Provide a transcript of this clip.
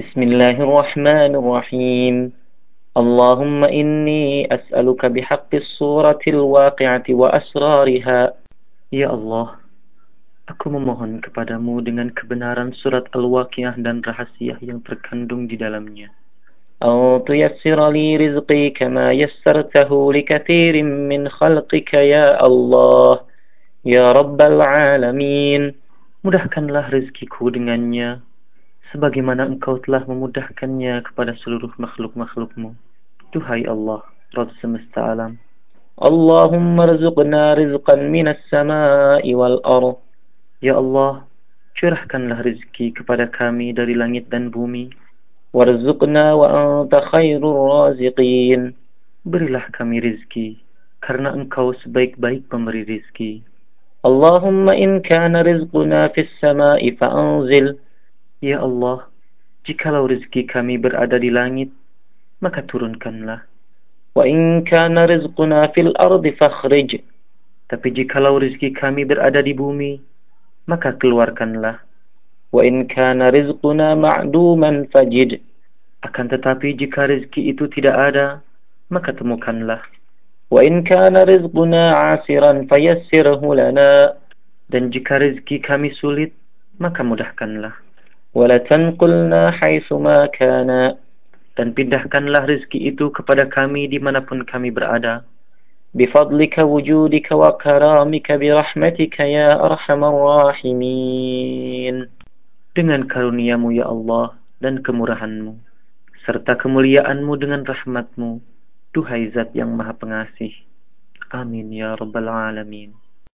بسم الله الرحمن الرحيم اللهم إني أسألك بحق الصورة الواقعة وأسرارها Ya Allah, aku memohon kepadamu dengan kebenaran surat Al-Waqiah dan rahasia yang terkandung di dalamnya. أو تيسر لي رزقي كما يسرته لكثير من خلقك يا الله يا رب العالمين Ya Mudahkanlah rezekiku dengannya sebagaimana engkau telah memudahkannya kepada seluruh makhluk-makhlukmu. Duhai Allah, Rabb semesta alam. اللهم ارزقنا رزقا من السماء والأرض Ya Allah, curahkanlah rezeki kepada kami dari langit dan bumi. Warzuqna wa anta khairur raziqin. Berilah kami rezeki, karena engkau sebaik-baik pemberi rezeki. Allahumma in kana rizquna fis sama'i fa'anzil. Ya Allah, jikalau rezeki kami berada di langit, maka turunkanlah. وإن كان رزقنا في الأرض فاخرج Tapi jikalau rezeki kami berada di bumi, maka keluarkanlah. وإن كان رزقنا معدوما فجد Akan tetapi jika rezeki itu tidak ada, maka temukanlah. وإن كان رزقنا عاسرا فيسره لنا Dan jika rezeki kami sulit, maka mudahkanlah. ولتنقلنا حيثما كان dan pindahkanlah rezeki itu kepada kami dimanapun kami berada. Bifadlika wujudika wa karamika birahmatika ya arhamar rahimin. Dengan karuniamu ya Allah dan kemurahanmu, serta kemuliaanmu dengan rahmatmu, Duhai zat yang maha pengasih. Amin ya rabbal alamin.